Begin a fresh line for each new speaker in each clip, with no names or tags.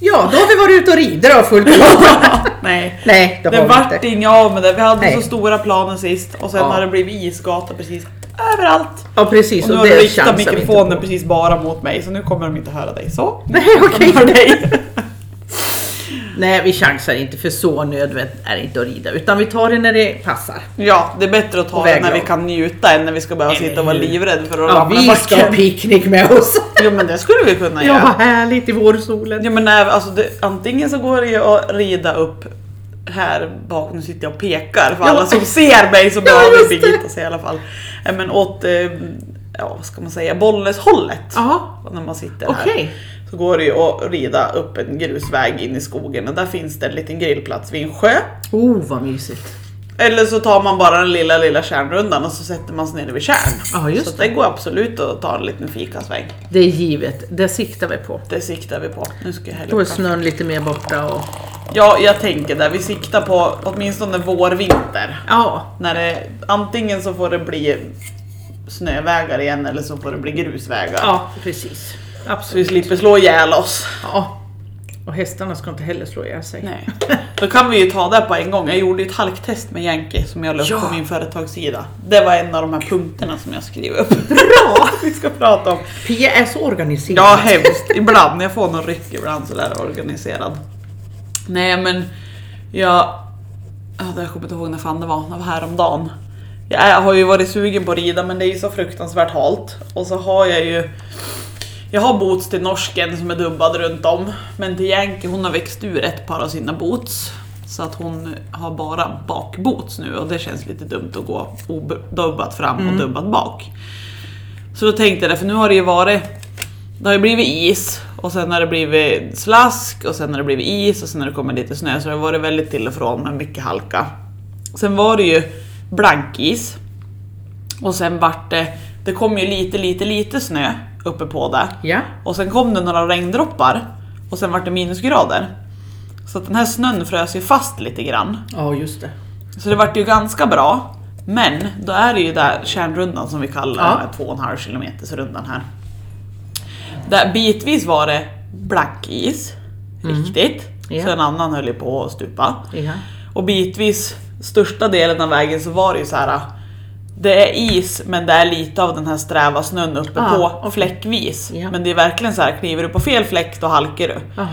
Ja, då har vi varit ute och rider och fullt
Nej.
Nej, det
Det
har vi
vart
inte.
inga av med det. Vi hade
Nej.
så stora planer sist och sen
Ja.
har det blivit isgata precis överallt.
Ja, precis.
Och nu
och
har du
det
riktat
chansar vi inte
mikrofonen
på.
precis bara mot mig så nu kommer de inte höra dig. Så.
Nej, okej.
För dig.
Nej, vi chansar inte för så nödvändigt är det inte att rida. Utan vi tar det när det passar.
Ja, det är bättre att ta
Och
det när vi
väglag.
kan njuta än när vi ska behöva sitta och vara livrädda för att
Ja,
ramla
vi ska ha
backen.
picknick med oss.
Jo men det skulle vi kunna
Ja,
göra.
vad härligt i vårsolen.
Jo men nej, alltså det, antingen så går det ju att rida upp här bak, nu sitter jag och pekar för
Ja.
alla som ser mig så behöver
just det.
Birgitta se i alla fall. Eh, Men åt, eh, ja vad ska man säga, Bollnäshållet.
Jaha,
När man sitter här.
okej.
Så går det ju att rida upp en grusväg in i skogen och där finns det en liten grillplats vid en sjö.
Oh, vad mysigt.
Eller så tar man bara den lilla, lilla kärnrundan och så sätter man sig nere vid kärn.
Ja, just
så det. det går absolut att ta en liten fikasväng.
Det är givet, det siktar vi på.
Det siktar vi på. Nu ska jag hälla
Då är
upp kaffe.
snön lite mer borta och...
Ja, jag tänker där. Vi siktar på åtminstone vår-vinter.
Ja,
När det, antingen så får det bli snövägar igen eller så får det bli grusvägar.
ja precis.
Så vi
Absolut.
slipper slå ihjäl oss.
Ja. Och hästarna ska inte heller slå ihjäl sig.
Nej. Då kan vi ju ta det på en gång. Jag gjorde ju ett halktest med Yankee som jag la upp
Ja.
på min företagssida. Det var en av de här punkterna som jag skrev upp. Bra! vi ska prata om.
Pia är så organiserad.
Ja, hemskt. Ibland. Jag får någon ryck ibland sådär organiserad. Nej men, jag... ja, det- Jag kommer inte ihåg när fan det var, det var häromdagen. Jag är- har ju varit sugen på att rida men det är ju så fruktansvärt halt. Och så har jag ju... Jag har boots till norsken som är dubbad runt om. Men till Yankee, hon har växt ur ett par av sina boots. Så att hon har bara bakboots nu och det känns lite dumt att gå ob- dubbat fram och dubbat bak. Så då tänkte jag det, för nu har det ju varit det har ju blivit is och sen har det blivit slask och sen har det blivit is och sen har det kommit lite snö så det har varit väldigt till och från med mycket halka. Sen var det ju blankis och sen vart det, det kom ju lite lite lite snö uppe på det
Ja.
och sen kom det några regndroppar och sen vart det minusgrader. Så att den här snön frös ju fast lite grann.
Ja, just det.
Så det vart ju ganska bra. Men då är det ju där kärnrundan som vi kallar
Ja.
den här två och en halv kilometers rundan här. Där bitvis var det blackis, riktigt.
Mm. Ja.
Så en annan höll ju på att stupa.
Ja.
Och bitvis, största delen av vägen så var det ju så här. Det är is men det är lite av den här sträva snön uppe
Ja,
på fläckvis.
Ja.
Men det är verkligen så här, kliver du på fel fläck då halkar du.
Jaha.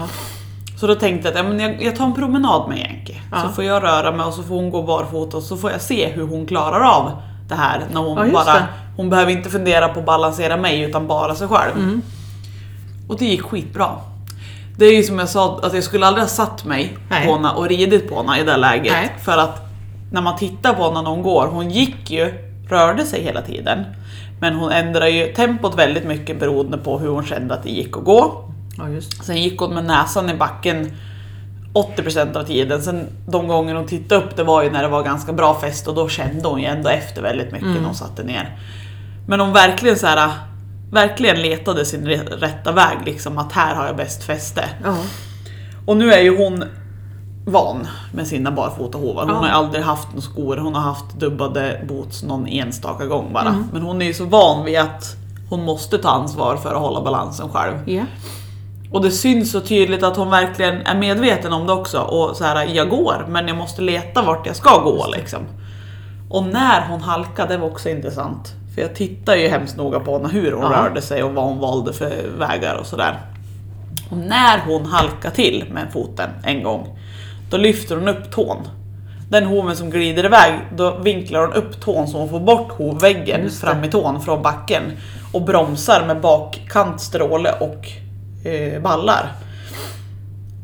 Så då tänkte jag att ja, men jag, jag tar en promenad med Yankee. Så
Ja.
får jag röra mig och så får hon gå barfota och så får jag se hur hon klarar av det här. När hon,
Ja, just
bara,
det.
hon behöver inte fundera på att balansera mig utan bara sig själv.
Mm.
Och det gick skitbra. Det är ju som jag sa, att jag skulle aldrig ha satt mig
Nej.
på henne och ridit på henne i det läget.
Nej.
För att när man tittar på henne när hon går, hon gick ju, rörde sig hela tiden. Men hon ändrar ju tempot väldigt mycket beroende på hur hon kände att det gick att gå.
Ja, just det.
Sen gick hon med näsan i backen 80% av tiden. Sen de gånger hon tittade upp det var ju när det var ganska bra fest och då kände hon ju ändå efter väldigt mycket när hon satte ner. Men hon verkligen så här, verkligen letade sin re- rätta väg liksom att här har jag bäst fäste.
Ja.
Och nu är ju hon van med sina barfota hovar. Hon
Ja.
har ju aldrig haft några skor, hon har haft dubbade boots någon enstaka gång bara. Men hon är ju så van vid att hon måste ta ansvar för att hålla balansen själv.
Ja.
Och det syns så tydligt att hon verkligen är medveten om det också och så här, jag går men jag måste leta vart jag ska gå liksom. Och när hon halkade, det var också intressant. För jag tittar ju hemskt noga på henne, hur hon
Ja.
rörde sig och vad hon valde för vägar och sådär. Och när hon halkar till med foten en gång, då lyfter hon upp tån. Den hoven som glider iväg, då vinklar hon upp tån så hon får bort hovväggen
Just det.
fram i tån från backen. Och bromsar med bakkant, stråle och eh, ballar.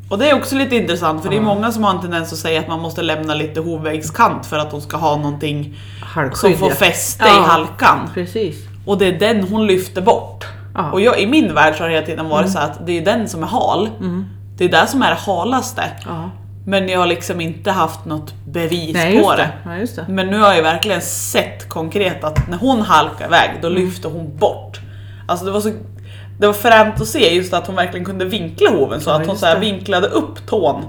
Och det är också lite intressant för det är många som har en tendens att säga att man måste lämna lite hovvägskant för att de ska ha någonting som
Halkskydd,
får
ja.
fäste i
Ja.
halkan.
Precis.
Och det är den hon lyfter bort.
Ja. Mm.
Och jag, i min värld så har det hela tiden varit så att det är den som är hal. Det är det som är det halaste.
Ja.
Men jag har liksom inte haft något bevis
Nej,
på
just
det.
det. Ja, just det.
Men nu har jag verkligen sett konkret att när hon halkar iväg då
Mm.
lyfter hon bort. Alltså det var så det var fränt att se just att hon verkligen kunde vinkla hoven så
Ja,
att hon
just
så här
det.
vinklade upp tån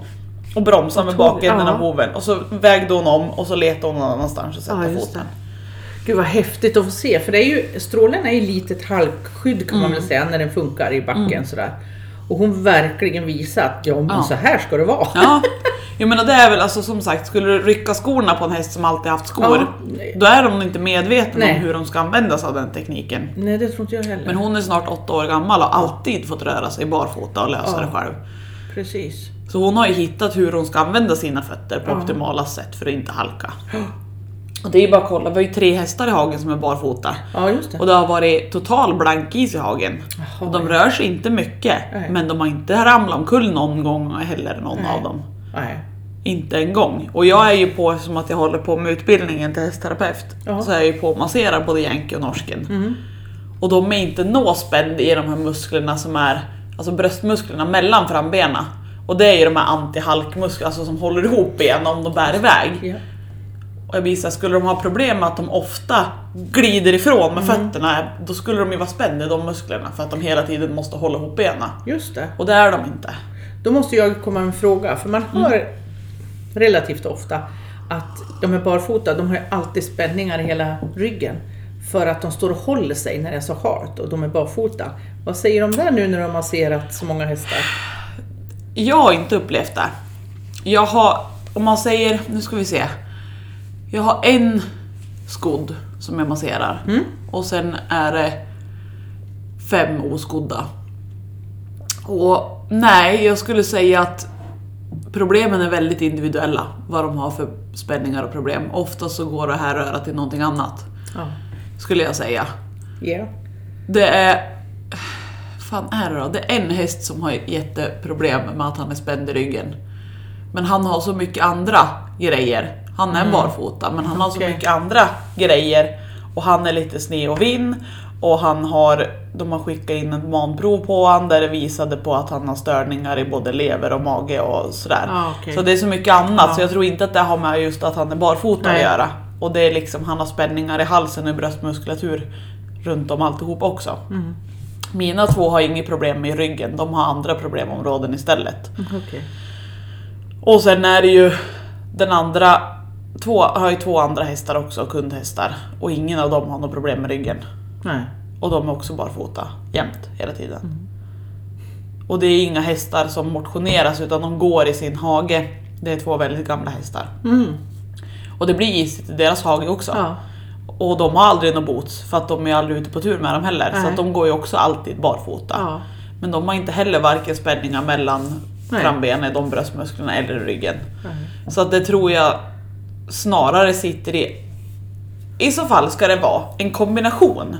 och bromsade med
tog-
bakänden
ja.
av hoven och så vägde hon om och så letade hon någon annanstans och satte
Ja, just
foten.
Gud vad häftigt att få
Mm.
se, för det är ju, strålen är ju ett litet halkskydd kan man väl säga när den funkar i backen sådär. Och hon verkligen visar att ja, men
Ja.
så här ska det vara.
Ja, jag menar det är väl alltså som sagt, skulle du rycka skorna på en häst som alltid haft skor,
Ja.
då är de inte medvetna
Nej.
om hur de ska använda sig av den tekniken.
Nej, det tror inte jag heller.
Men hon är snart åtta år gammal och har alltid fått röra sig barfota och lösa
Ja.
det själv.
Precis.
Så hon har ju hittat hur hon ska använda sina fötter på
Ja.
optimala sätt för att inte halka. Och det är ju bara att kolla, vi har ju tre hästar i hagen som är barfota.
Ja, just det.
Och det har varit total blankis i hagen.
Jaha.
Och de rör sig inte mycket,
Nej.
men de har inte ramlat omkull någon gång heller, någon
Nej.
av dem.
Nej.
Inte en gång. Och jag är ju på, som att jag håller på med utbildningen till hästterapeut,
Ja.
så är jag ju på och masserar både jänke och norsken.
Mm.
Och de är inte nåspänd i de här musklerna som är, alltså bröstmusklerna mellan frambenen. Och det är ju de här antihalkmusklerna, alltså som håller ihop benen om de bär iväg.
Ja.
Och jag visar, skulle de ha problem med att de ofta glider ifrån
Mm.
med fötterna, då skulle de ju vara spända i de musklerna för att de hela tiden måste hålla ihop benen.
Just det.
Och det är de inte.
Då måste jag komma med en fråga, för man hör relativt ofta att de är barfota, de har ju alltid spänningar i hela ryggen för att de står och håller sig när det är så halt och de är barfota. Vad säger de där nu när de har masserat så många hästar?
Jag har inte upplevt det. Jag har, om man säger, nu ska vi se. Jag har en skodd som jag masserar. Och sen är det fem oskodda. Och nej, jag skulle säga att problemen är väldigt individuella. Vad de har för spänningar och problem. Ofta så går det här röra till någonting annat.
Ja.
Skulle jag säga.
Ja.
Det är... fan är det då? Det är en häst som har jätteproblem med att han är spänd i ryggen. Men han har så mycket andra grejer. Han är barfota, men han har så
Mm. Okej.
mycket andra grejer. Och han är lite sned och vinn. Och han har, de har skickat in ett manprov på honom där det visade på att han har störningar i både lever och mage och sådär.
Ah, okej.
Så det är så mycket annat
Ja.
så jag tror inte att det har med just att han är barfota
Nej.
att göra. Och det är liksom, han har spänningar i halsen och i bröstmuskulatur runt om alltihop också.
Mm.
Mina två har inget problem med ryggen, de har andra problemområden istället.
Okej.
Och sen är det ju den andra, två, jag har ju två andra hästar också, kundhästar. Och ingen av dem har något problem med ryggen.
Nej.
Och de är också barfota jämt, hela tiden.
Mm.
Och det är inga hästar som motioneras utan de går i sin hage. Det är två väldigt gamla hästar.
Mm.
Och det blir isigt i deras hage också.
Ja.
Och de har aldrig något boots för att de är aldrig ute på tur med dem heller. Så
Nej.
att de går ju också alltid barfota.
Ja.
Men de har inte heller varken spänningar mellan
Nej.
frambenen, de bröstmusklerna eller ryggen.
Nej.
Så att det tror jag snarare sitter i... I så fall ska det vara en kombination.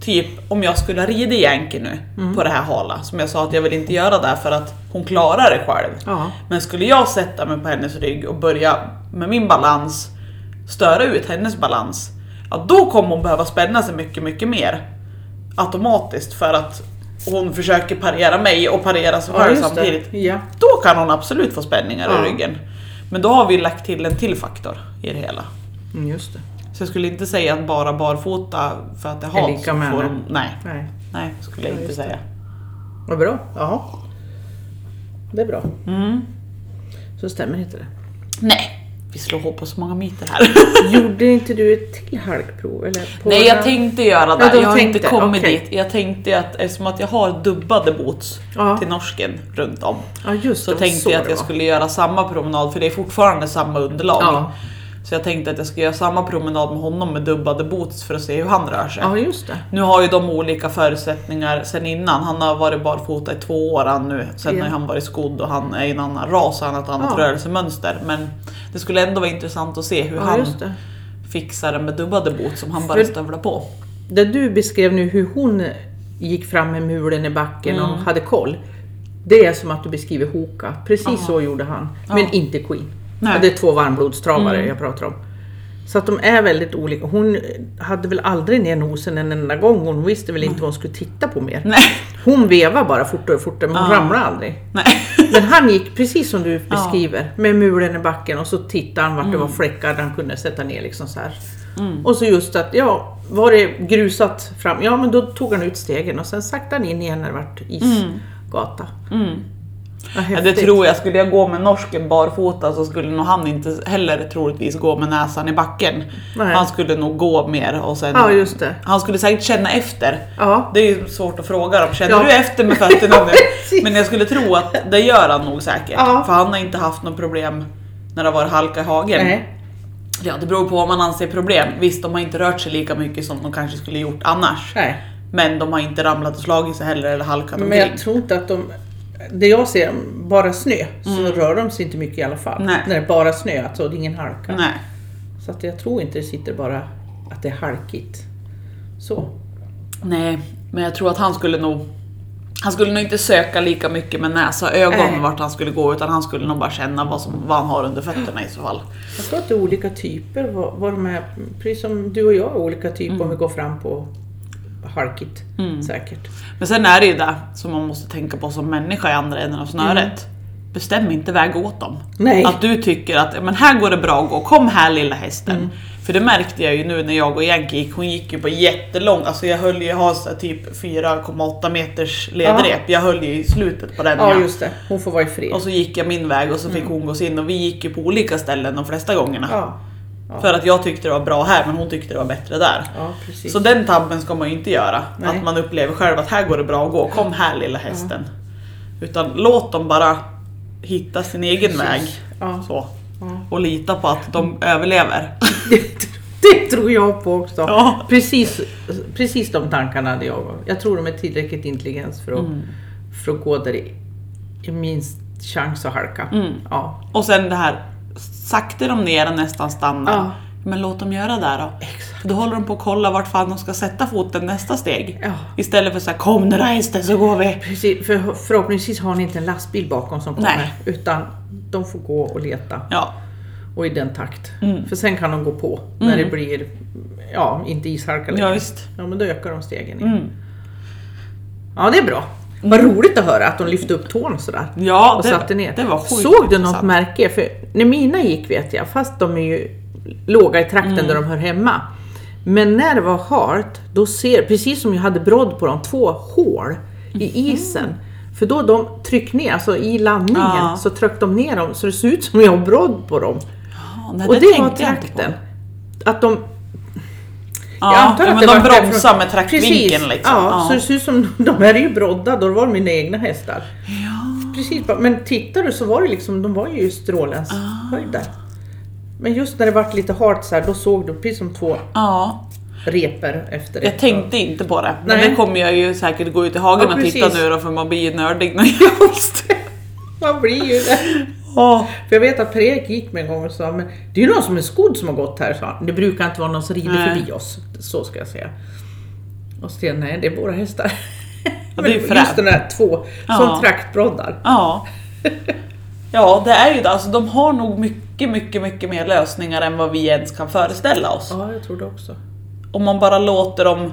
Typ om jag skulle ha ridit Yankee nu
Mm.
på det här hala som jag sa att jag vill inte göra där för att hon klarar det själv.
Ja.
Men skulle jag sätta mig på hennes rygg och börja med min balans störa ut hennes balans, ja, då kommer hon behöva spänna sig mycket, mycket mer automatiskt för att hon försöker parera mig och parera sig
Ja,
själv
just
samtidigt.
det. Ja.
Då kan hon absolut få spänningar
Ja.
i ryggen. Men då har vi lagt till en till faktor i det hela.
Mm, Just det.
Så jag skulle inte säga att bara barfota för att det
Är
har
lika med
får
henne.
hon, nej,
Nej.
nej, skulle jag
Ja,
inte
just det.
säga.
Vad bra. Jaha. Det är bra.
Mm.
Så stämmer inte det.
Nej, vi slår hål på så många myter här.
Gjorde inte du ett till halkprov? Eller på
Nej jag
några-
tänkte göra det,
Ja, de
jag har inte
tänkte,
kommit
okej.
dit. Jag tänkte att eftersom att jag har dubbade boots
Ja.
till norsken runt om
Ja just
så
det, det var
tänkte jag att
det
jag
var.
skulle göra samma promenad för det är fortfarande samma underlag.
Ja.
Så jag tänkte att jag ska göra samma promenad med honom med dubbade boots för att se hur han rör sig.
Ja just det.
Nu har ju de olika förutsättningar sen innan. Han har varit barfota i två år han nu. Sen
Ja.
har han varit skodd och han är i en annan ras och han har ett annat
Ja.
rörelsemönster. Men det skulle ändå vara intressant att se hur
Ja,
han
just det.
fixar det med dubbade boots som han bara
För-
stövlar på.
Det du beskrev nu hur hon gick fram med mulen i backen
Mm.
och hade koll. Det är som att du beskriver Hoka. Precis så gjorde han. Men
Ja.
inte Queen.
Nej. Mm.
Ja, Det är två varmblodstravare jag pratar om. Så att de är väldigt olika. Hon hade väl aldrig ner nosen en enda gång. Hon visste väl inte vad hon skulle titta på mer.
Nej.
Hon vevade bara fortare och fortare men hon
Ja.
ramlade aldrig.
Nej.
Men han gick precis som du beskriver, med mulen i backen och så tittade han vart det var fläckar där han kunde sätta ner liksom så här. Och så just att, ja, var det grusat fram, Mm. ja men då tog han ut stegen och sen sakta han in igen när det vart isgata. Vad
Ja, det
häftigt.
tror jag. Skulle jag gå med norsken barfota så skulle nog han inte heller troligtvis gå med näsan i backen.
Nej.
Han skulle nog gå mer och sen...
Ja, just det.
Han skulle säkert känna efter.
Ja.
Det är ju svårt att fråga dem. Känner
Ja.
du efter med fötterna
Ja,
nu?
precis.
Men jag skulle tro att det gör han nog säkert.
Ja.
För han har inte haft något problem när det har varit halka i hagen.
Nej.
Ja, det beror på vad man anser problem. Visst, de har inte rört sig lika mycket som de kanske skulle gjort annars.
Nej.
Men de har inte ramlat och slagit sig heller eller halkat
Men jag
omkring.
tror inte att de... Det jag ser, bara snö, så rör de sig inte mycket i alla fall.
Nej.
När det är bara snö, alltså det är ingen halka.
Nej.
Så att jag tror inte det sitter bara att det är halkigt. Så.
Nej, men jag tror att han skulle nog han skulle nog inte söka lika mycket med näsa och ögon
Nej.
vart han skulle gå utan han skulle nog bara känna vad, som, vad han har under fötterna i så fall.
Jag tror att det är olika typer, vad, vad de är, precis som du och jag är olika typer
Mm.
om vi går fram på halkigt säkert.
Men sen är det ju det som man måste tänka på som människa i andra änden av snöret. Bestäm inte väg åt dem.
Mm. Nej.
Att du tycker att men här går det bra att gå, kom här lilla hästen.
Mm.
För det märkte jag ju nu när jag och Yankee gick, hon gick ju på jättelång, alltså jag höll ju, jag har så här typ 4,8 meters ledrep, jag höll ju i slutet på den.
Ja
jag-
just det, hon får vara i fred.
Och så gick jag min väg och så
Mm.
fick hon gå sin och vi gick ju på olika ställen de flesta gångerna.
Ja,
För att jag tyckte det var bra här men hon tyckte det var bättre där.
ja precis.
Så den tabben ska man ju inte göra.
Nej.
Att man upplever själv att här går det bra att gå, kom här lilla hästen. Utan låt dem bara hitta sin egen
Precis.
väg.
Ja.
Så.
Ja.
Och lita på att de överlever.
Det, det tror jag på också.
Ja.
Precis, precis de tankarna hade jag. Jag tror de är tillräckligt intelligens för att,
Mm.
för att gå där i, i minst chans att halka.
Mm.
Ja,
Och sen det här, sakta dem ner och nästan stanna.
Ja.
Men låt dem göra det då.
Exakt.
För då håller de på att kolla vart fan de ska sätta foten nästa steg.
Ja.
Istället för så här, kom nu då hästen så går vi.
precis, för förhoppningsvis har ni inte en lastbil bakom som kommer.
Nej.
Utan de får gå och leta.
Ja,
Och i den takt. För sen kan de gå på när det blir, ja, inte ishalka längre.
ja visst.
Ja, men då ökar de stegen igen.
Mm.
Ja, det är bra. Vad roligt att höra att de lyfte upp tån sådär.
Ja,
och
det,
satte ner.
det var sjukt
Såg du något
intressant.
märke? För när mina gick vet jag, fast de är ju låga i trakten
Mm.
där de hör hemma. Men när det var halt, då ser, precis som jag hade brodd på dem, två hål
Mhm.
i isen. För då de tryck ner, alltså i landningen,
Ja.
så tryckte de ner dem så det ser ut som jag har brodd på dem.
Ja, nej,
och det, var
tänkte jag inte på.
trakten. Att de
Ja,
jag antar
ja,
att
men
det
de
var därför-
bromsar med traktvinkeln
Precis,
liksom.
Ja, så det ser ut som de här är ju broddade och det var mina egna hästar. Precis, bara- men tittar du så var det liksom, de var ju i strålens
Ah.
höjd där. Men just när det vart lite halt så här, då såg du precis som två
ja,
reper efter det.
jag tänkte inte på det. Men
Nej.
det kommer jag ju säkert gå ut i hagen
Ja,
och titta
precis.
nu då för man blir ju nördig när jag måste.
Man blir ju det.
Ja.
För jag vet att Per-Erik gick med en gång och sa, men det är ju någon som är skodd som har gått här, sa han. Det brukar inte vara någon som rider
Nej.
förbi oss. Så ska jag säga. Och Sten, nej det är våra hästar.
Ja, det är ju
Men
fränt.
just den här två
Ja.
som traktbroddar.
Ja. ja, det är ju det. Alltså, de har nog mycket, mycket, mycket mer lösningar än vad vi ens kan föreställa oss.
Ja, jag tror det också.
Om man bara låter dem,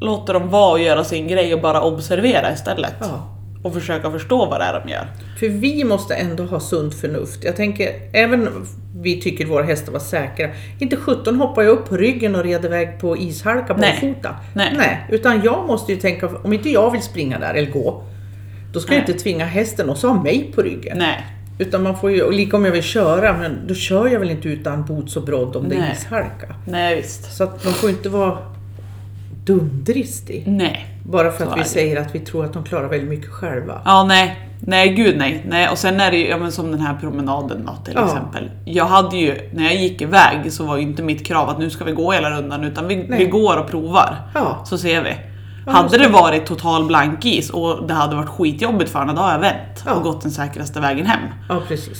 låter dem vara och göra sin grej och bara observera istället.
Ja.
Och försöka förstå vad det är de gör.
För vi måste ändå ha sunt förnuft. Jag tänker, även om vi tycker våra hästar var säkra, inte 17 hoppar jag upp på ryggen och red iväg på ishalka
Nej.
barfota.
Nej.
Utan jag måste ju tänka, om inte jag vill springa där eller gå, då ska jag
Nej.
inte tvinga hästen också ha mig på ryggen.
Nej.
Utan man får ju, och lika om jag vill köra, men då kör jag väl inte utan boots och brodd om det
Nej.
är ishalka.
Nej, visst.
Så att man får ju inte vara dumdristig.
Nej.
Bara för
Så
att
är
vi
det.
säger att vi tror att de klarar väldigt mycket själva.
Ja, nej. Nej, gud nej. nej. Och sen är det ju ja, men som den här promenaden då, till
Ja.
exempel. Jag hade ju, när jag gick iväg så var ju inte mitt krav att nu ska vi gå hela rundan utan vi,
Nej.
vi går och provar.
Ja.
Så ser vi.
Ja,
hade
måste-
det varit total blankis och det hade varit skitjobbigt för henne, då har jag vänt
Ja.
och gått den säkraste vägen hem.
Ja, precis.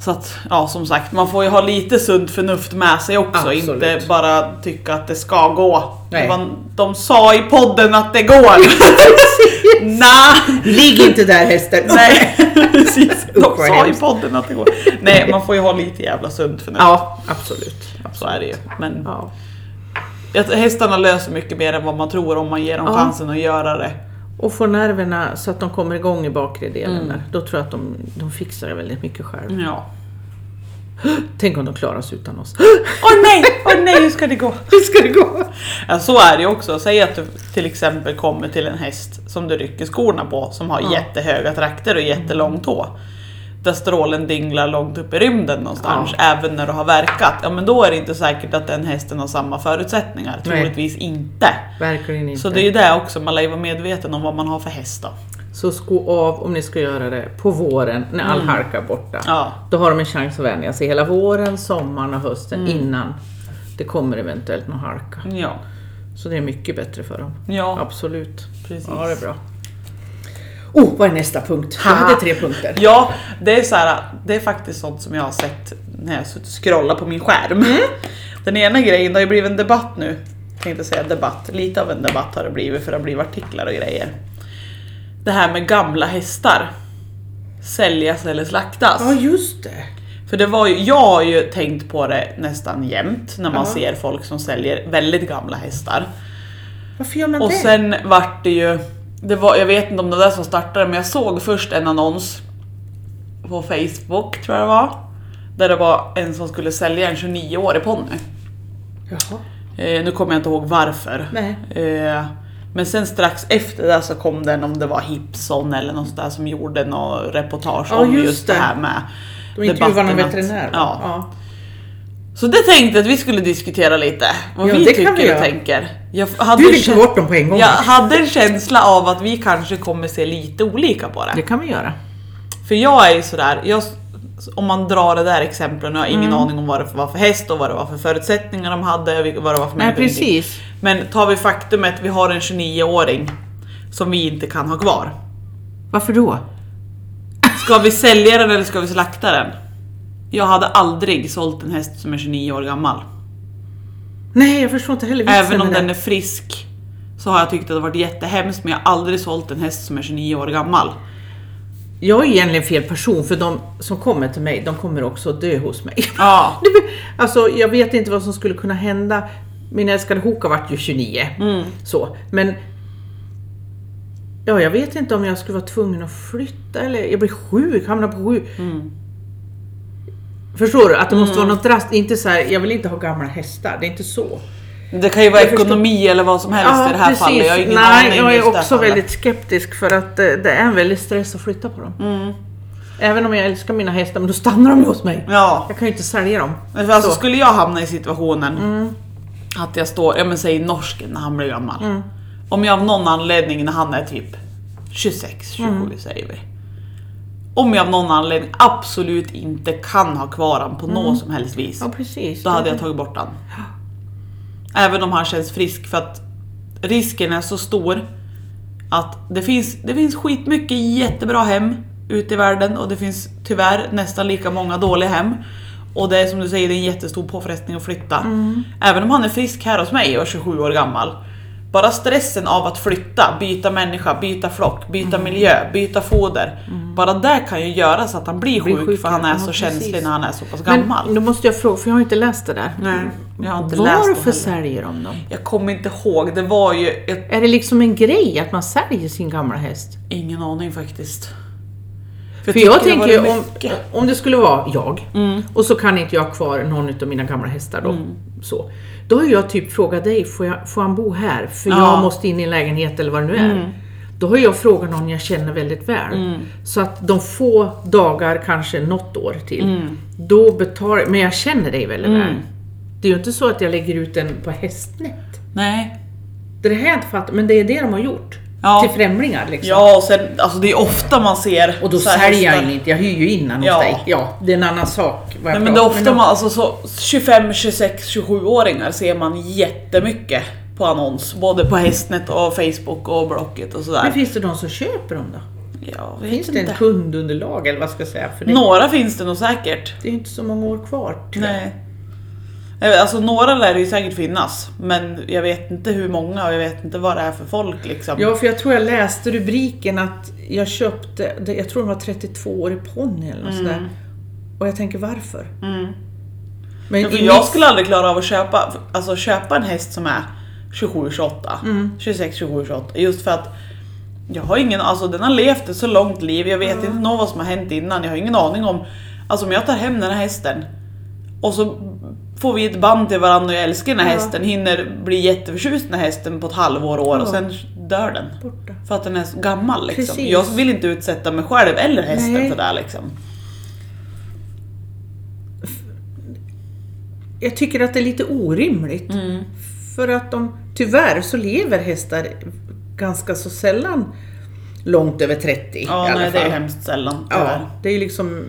Så att, ja som sagt, man får ju ha lite sunt förnuft med sig också.
Absolut.
Inte bara tycka att det ska gå.
Nej.
Man, de sa i podden att det går. Nej.
Ligg inte där hästen!
Nej, precis. De
Usch, vad
sa i
hemskt.
podden att det går. Nej, man får ju ha lite jävla sunt förnuft.
Ja, absolut.
Så är det ju. Men
Ja.
att hästarna löser mycket mer än vad man tror om man ger dem
Ja.
chansen att göra det.
Och få nerverna så att de Mm. kommer igång i bakre delen. där. Då tror jag att de, de fixar det väldigt mycket själv.
Ja.
Tänk om de klarar oss utan oss.
Åh nej, åh nej, hur ska det gå?
Hur ska det gå?
Ja, så är det ju också. Säg att du till exempel kommer till en häst som du rycker skorna på som har
Ja.
jättehöga trakter och jättelång tå. Där strålen dinglar långt upp i rymden någonstans, även när du har verkat. Ja men då är det inte säkert att den hästen har samma förutsättningar.
Nej.
Troligtvis inte.
Verkligen inte.
Så det är ju det också, man lär ju vara medveten om vad man har för häst då.
Så sko av om ni ska göra det på våren när all harka är borta.
Ja.
Då har de en chans att vänja sig hela våren, sommaren och hösten innan det kommer eventuellt någon harka.
Ja.
Så det är mycket bättre för dem.
Ja,
Absolut.
precis.
Ja, det är bra. Oh, vad är nästa punkt? Jag hade tre punkter.
Ja, det är, så här, det är faktiskt sånt som jag har sett när jag har suttit och scrollat på min skärm. Den ena grejen, det har ju blivit en debatt nu. Jag tänkte säga debatt, lite av en debatt har det blivit för det har blivit artiklar och grejer. Det här med gamla hästar. Säljas eller slaktas.
Ja, just det.
För det var ju, jag har ju tänkt på det nästan jämt när man
Ja.
ser folk som säljer väldigt gamla hästar.
Varför gör man
Och
det?
sen vart det ju, det var, jag vet inte om det var det som startade men jag såg först en annons på Facebook tror jag det var. Där det var en som skulle sälja en 29-årig ponny.
Jaha.
Eh, nu kommer jag inte ihåg varför.
Nej.
Eh, men sen strax efter det så kom den om det var Hipson eller något sånt där som gjorde något reportage
Ja,
om
just
just, det
det.
här med
De intervjuar någon
debatten att-
veterinär. va?
Ja. Så det tänkte jag att vi skulle diskutera lite. Vad
Ja,
vi
det kan
tycker
vi göra.
och tänker. Jag hade
Du
en
vill ta
käns-
bort dem på en gång?
jag hade en känsla av att vi kanske kommer se lite olika på det.
Det kan vi göra.
För jag är ju sådär, jag, om man drar det där exemplen, jag har
Mm.
ingen aning om vad det var för häst och vad det var för förutsättningar de hade, vilka- vad det var för
Nej,
människor, ingenting.
precis.
Men tar vi faktumet, vi har en 29-åring som vi inte kan ha kvar.
Varför då?
Ska vi sälja den eller ska vi slakta den? Jag hade aldrig sålt en häst som är 29 år gammal.
Nej, jag förstår inte heller vitsen
Även om
med
den är frisk så har jag tyckt att det har varit jättehemskt men jag har aldrig sålt en häst som är 29 år gammal.
Jag är egentligen fel person för de som kommer till mig, de kommer också att dö hos mig.
Ja.
Det blir- Alltså jag vet inte vad som skulle kunna hända. Min älskade Hoka vart ju 29.
Mm.
Så, men Ja, jag vet inte om jag skulle vara tvungen att flytta eller jag blir sjuk, hamnar på sjuk.
Mm.
Förstår du? Att det måste vara något drast. Inte så här, jag vill inte ha gamla hästar. Det är inte så.
Det kan ju vara
Jag förstår.
ekonomi eller vad som helst i det här fallet. Jag har ingen
Nej,
aning
jag
just
är
det här
också
fallet.
väldigt skeptisk för att eh, det är en väldig stress att flytta på dem. Även om jag älskar mina hästar, men då stannar de ju hos mig.
Mm. Ja.
Jag kan ju inte sälja dem.
Men för Alltså,
Så. Mm.
skulle jag hamna i situationen att jag står, ja men säg norsken när han blir gammal.
Mm.
Om jag av någon anledning när han är typ 26, 27
Mm.
säger vi. Om jag av någon anledning absolut inte kan ha kvar han på
Mm.
något som helst vis.
Ja, precis.
Då hade jag tagit bort han. Även om han känns frisk för att risken är så stor att det finns, det finns skitmycket jättebra hem ute i världen och det finns tyvärr nästan lika många dåliga hem. Och det är som du säger, det är en jättestor påfrestning att flytta. Även om han är frisk här hos mig och är 27 år gammal. Bara stressen av att flytta, byta människa, byta flock, byta miljö, byta foder. Bara det kan ju göra så att han blir
Blir
sjuk, för
sjukare.
han är
Ja,
så
precis.
känslig när han är så pass
Men
gammal.
Då måste jag fråga, för jag har inte läst det där.
Nej, jag har inte läst dem
Varför
heller.
säljer de Mm. dem?
Jag kommer inte ihåg, det var ju... Ett,
Är det liksom en grej att man säljer sin gamla häst?
ingen aning faktiskt.
För jag
tycker det
tänker ju
var
om,
mycket. Mm.
om det skulle vara jag och så kan inte jag ha kvar någon av mina gamla hästar då. Så. Då har jag typ frågat dig, får, jag, får han bo här? För
Ja. Mm.
jag måste in i en lägenhet eller vad det nu är. Då har jag frågat någon jag känner väldigt väl. Så att de få dagar, kanske något år till,
Mm.
då betalar Men jag känner dig väldigt väl. Det är ju inte så att jag lägger ut den på hästnät.
Nej.
Det här har jag inte fattat, men det är det de har gjort.
Ja.
Till främlingar liksom.
Ja, och sen, alltså det är ofta man ser...
Och då
så här
säljer jag
hästar.
in inte, jag hyr ju in den hos
Ja.
dig. Ja, det är en annan sak. vad jag
Nej, men det är
pratar-
ofta
men
man, alltså så 25, 26, 27-åringar ser man jättemycket på annons. Både på Hästnet och Facebook och Blocket och
Men
sådär.
finns det de som köper dem då?
Jag vet
Finns det
inte.
ett kundunderlag eller vad ska jag säga? För det,
Några finns det nog säkert.
det är ju inte så många år kvar. tyvärr.
Nej. Jag vet, Alltså några lär det ju säkert finnas, men jag vet inte hur många och jag vet inte vad det är för folk liksom.
Ja, för jag tror jag läste rubriken att jag köpte, det- jag tror den var 32-årig ponny eller något sådär. Och jag tänker varför? Men
Men Mm. för
i
jag
mitt-
skulle aldrig klara av att köpa, alltså köpa en häst som är 27, 28,
Mm.
26, 27, 28. Just för att jag har ingen, alltså den har levt ett så långt liv, jag vet inte något vad som har hänt innan, jag har ingen aning om. Alltså om jag tar hem den här hästen Och så får vi ett band till varandra och jag älskar den här
Ja.
hästen, hinner bli jätteförtjust i den här hästen på ett halvår år och
Ja.
sen dör den.
Borta.
För att den är så gammal liksom.
Precis.
Jag vill inte utsätta mig själv eller hästen
Nej.
för det här, liksom.
Jag tycker att det är lite orimligt.
Mm.
För att de, tyvärr så lever hästar ganska så sällan långt över 30 i
Ja,
alla
nej, det
fall.
är hemskt sällan
Ja,
tyvärr.
det är ju liksom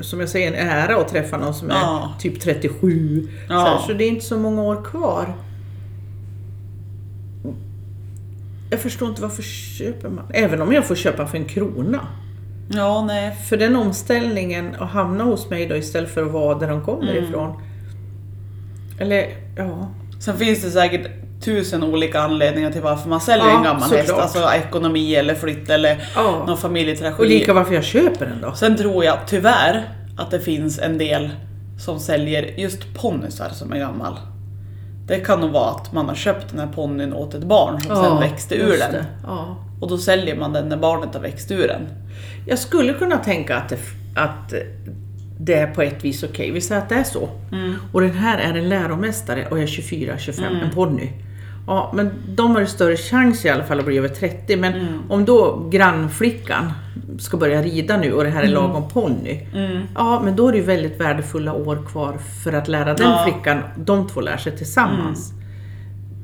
som jag säger en ära att träffa någon som
Ja.
är typ 37. Så,
Ja.
här, så det är inte så många år kvar. Jag förstår inte varför köper man? Även om jag får köpa för en krona.
Ja, nej.
För den omställningen att hamna hos mig då istället för att vara där de kommer ifrån. Eller ja,
Sen finns det säkert tusen olika anledningar till varför man säljer
Ja,
en gammal häst.
såklart.
Alltså ekonomi eller flytt eller
Ja.
någon
och
familjetragedi.
lika varför jag köper den då.
Sen tror jag tyvärr att det finns en del som säljer just ponnysar som är gammal. Det kan nog vara att man har köpt den här ponnyn åt ett barn som sen växte ur
just
den.
det. Ja.
Och då säljer man den när barnet har växt ur den.
Jag skulle kunna tänka att det, att det är på ett vis okej. Vi säger att det är så. Och den här är en läromästare och jag är 24, 25, en ponny. Ja, men de har ju större chans i alla fall att bli över 30. Men om då grannflickan ska börja rida nu och det här är lagom ponny. Ja, men då är det ju väldigt värdefulla år kvar för att lära den
Ja.
flickan. De två lär sig tillsammans.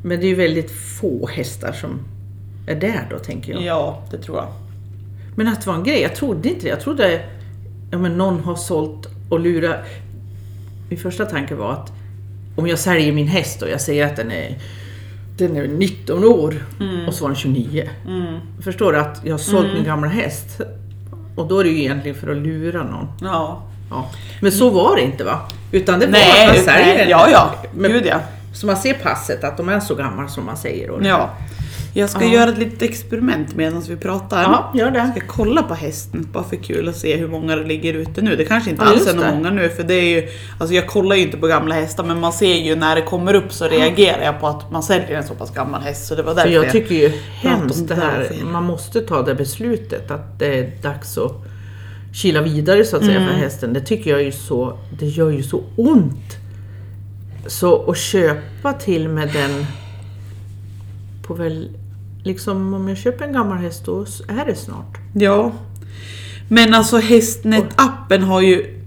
Men det är ju väldigt få hästar som är där då, tänker jag.
Ja, det tror jag.
Men att det var en grej, jag trodde inte det. Jag trodde ja, men någon har sålt och lurat. Min första tanke var att om jag säljer min häst och jag säger att den är, den är 19 år och så var den 29. Förstår du att jag har sålt min gamla häst? Och då är det ju egentligen för att lura någon.
Ja.
Ja. Men så var det inte va? Utan det var att man
Nej,
säljer
nej,
den.
ja, ja.
Men-
Gud ja.
Så man ser passet att de är så gamla som man säger. Och
ja. Jag ska
Ja.
göra ett litet experiment medan vi pratar.
ja, gör det.
Jag ska kolla på hästen bara för kul och se hur många det ligger ute nu. Det kanske inte
Ja,
alls
just
är några
det.
många nu för det är ju, alltså jag kollar ju inte på gamla hästar men man ser ju när det kommer upp så reagerar jag på att man säljer en så pass gammal häst så det var därför
För jag tycker ju
om
hemskt det
där
här,
fel.
man måste ta det beslutet att det är dags att kila vidare så att säga för hästen. Det tycker jag är ju så, det gör ju så ont. Så att köpa till med den på väl, liksom om jag köper en gammal häst då är det snart.
Ja. Men alltså Hästnet-appen har ju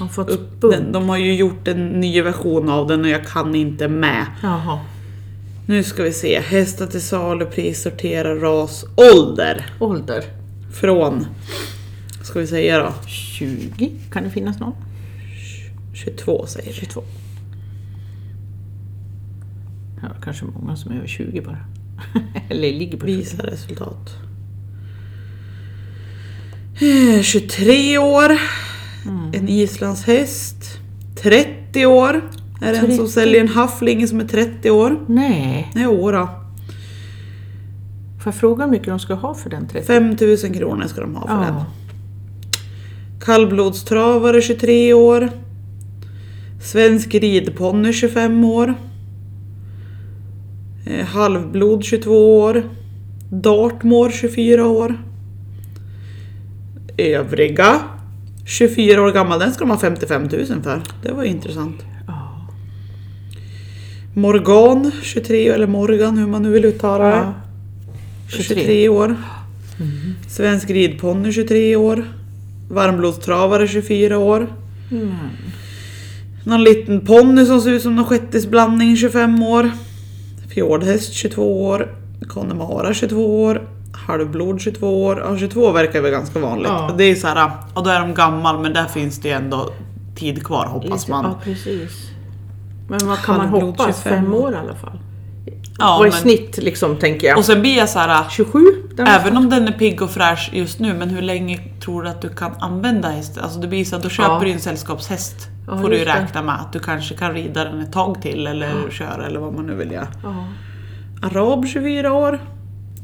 Man har fått
upp
bump.
den, de har ju gjort en ny version av den och jag kan inte med.
Jaha.
Nu ska vi se, hästar till salu, pris, sortera, ras, ålder.
Ålder?
Från, ska vi säga då,
20? Kan det finnas någon?
22 säger vi.
22. Ja, det kanske är många som är över 20 bara. Eller ligger på 20.
Visa resultat. Eh, 23 år. En islandshäst. 30 år. Är det en som
30?
säljer en haffling som är 30 år?
Nej.
Nej, åra.
Får jag fråga hur mycket de ska ha för den 30?
5000 kronor ska de ha för den.
Ja.
Kallblodstravare 23 år. Svensk ridponny 25 år. Eh, Halvblod 22 år. Dartmoor 24 år. Övriga 24 år gammal, den ska de ha 55 000 för. Det var ju intressant.
Ja.
Morgan 23 eller Morgan hur man nu vill uttala det.
Ja. Mm.
23,
23.
år. Svensk ridponny 23 år. Varmblodstravare 24 år.
Mm.
Någon liten ponny som ser ut som någon shettisblandning 25 år. Fjordhäst 22 år. Connemara 22 år. Halvblod 22 år. Ja, 22 verkar väl ganska vanligt.
Ja.
Det är så här, ja då är de gammal men där finns det ju ändå tid kvar hoppas
Lite-
man.
Ja, precis. Men vad kan man
Halvblod
hoppas?
25.
Fem år i alla fall.
Ja,
Vad är
men-
snitt liksom, tänker jag?
Och sen blir jag så här,
27? Där
Även om den är pigg och fräsch just nu, men hur länge tror du att du kan använda hästen? Alltså det blir så att då köper
Ja.
du en sällskapshäst.
Ja,
får du ju
just det.
räkna med att du kanske kan rida den ett tag till eller köra eller vad man nu vill göra.
Ja.
Arab 24 år.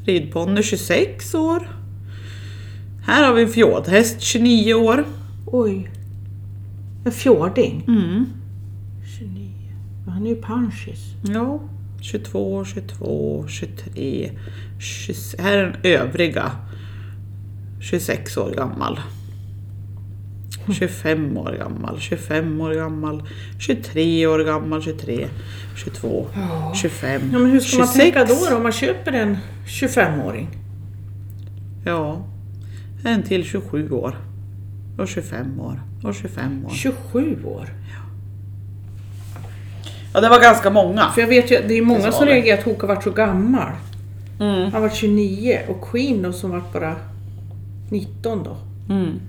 Ridponny 26 år. Här har vi en fjordhäst 29 år.
Oj. En fjording?
Mm.
29. Men Han är ju panschis.
Ja, 22, 22, 23, 26. Här är den övriga. 26 år gammal. 25 år gammal, 25 år gammal, 23 år gammal, 23, 22, 25,
Ja, men hur ska man tänka då, då om man köper en 25-åring?
Ja, en till 27 år. Och 25 år. Och 25 år.
27 år?
Ja, det var ganska många.
För jag vet ju, det är
Det
många
sa
som
det.
reagerar att Hoka vart så gammal.
Mm.
Han var 29 och Queen då som vart bara 19 då.
Mm.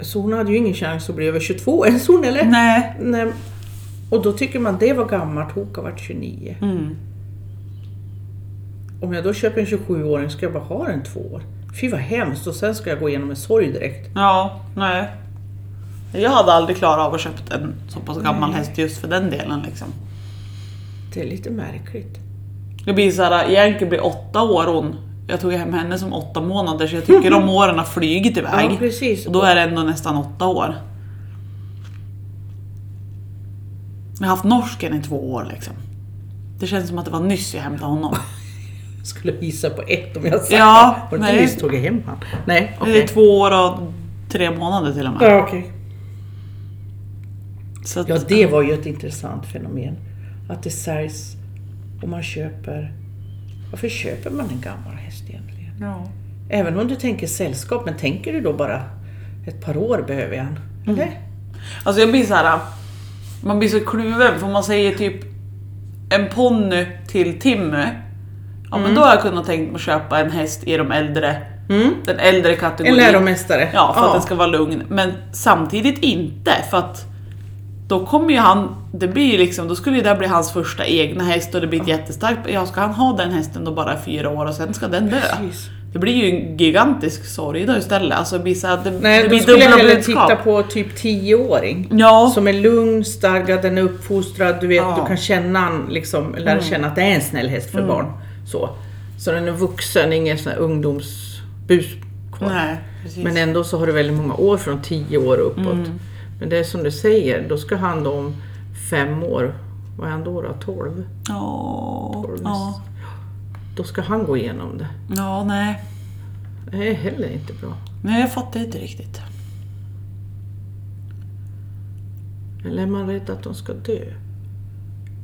Så hon hade ju ingen chans att bli över 22 ens hon eller?
Nej.
Nej. Och då tycker man det var gammalt, Hoka vart 29.
Mm.
Om jag då köper en 27-åring ska jag bara ha den två år? Fy vad hemskt och sen ska jag gå igenom en sorg direkt.
Ja, nej. Jag hade aldrig klarat av att köpa en så pass gammal häst just för den delen. Liksom.
Det är lite märkligt.
Det blir så här, egentligen blir åtta år hon. Jag tog hem henne som åtta månader så jag tycker de åren har flugit iväg.
Ja precis.
Och då är det ändå nästan åtta år. Jag har haft norsken i två år liksom. Det känns som att det var nyss jag hämtade honom.
Jag skulle gissa på ett om jag sagt
Ja,
det. Var det
nej.
inte nyss tog jag hem han? Nej,
Det
okej.
är två år och tre månader till och med.
Ja, okej.
Så att,
Ja, det var ju ett intressant fenomen. Att det säljs och man köper... Varför köper man en gammal häst egentligen?
ja.
Även om du tänker sällskap, men tänker du då bara ett par år behöver jag en?
Mm.
Eller?
Alltså jag blir så här. Man blir så kluven för man säger typ en ponny till Timmy. Ja men då har jag kunnat tänkt mig att köpa en häst i de äldre,
Mm.
den äldre
En
kategorin.
läromästare.
Ja, för att den ska vara lugn. Men samtidigt inte för att då kommer ju han, det blir ju liksom, då skulle ju det bli hans första egna häst och det blir ett jättestarkt, ja ska han ha den hästen då bara i fyra år och sen ska den dö?
Precis.
Det blir ju en gigantisk sorg då istället. Alltså det blir så här, det,
Nej,
det
då
blir
skulle jag
dubbla
hellre
budskap.
titta på typ 10-åring.
Ja,
Som är lugn, starkad, den är uppfostrad, du vet,
Ja. Mm.
du kan känna, han, liksom, lära känna att det är en snäll häst för barn. Så. så den är vuxen, ingen sån här ungdomsbus kvar.
nej precis.
Men ändå så har du väldigt många år från 10 år och uppåt. Men det är som du säger, då ska han då om fem år, vad är han då? då 12?
Ja, ja,
Då ska han gå igenom det.
ja, nej.
Det är heller inte bra.
Nej, jag fattar inte riktigt.
Eller är man rädd att de ska dö?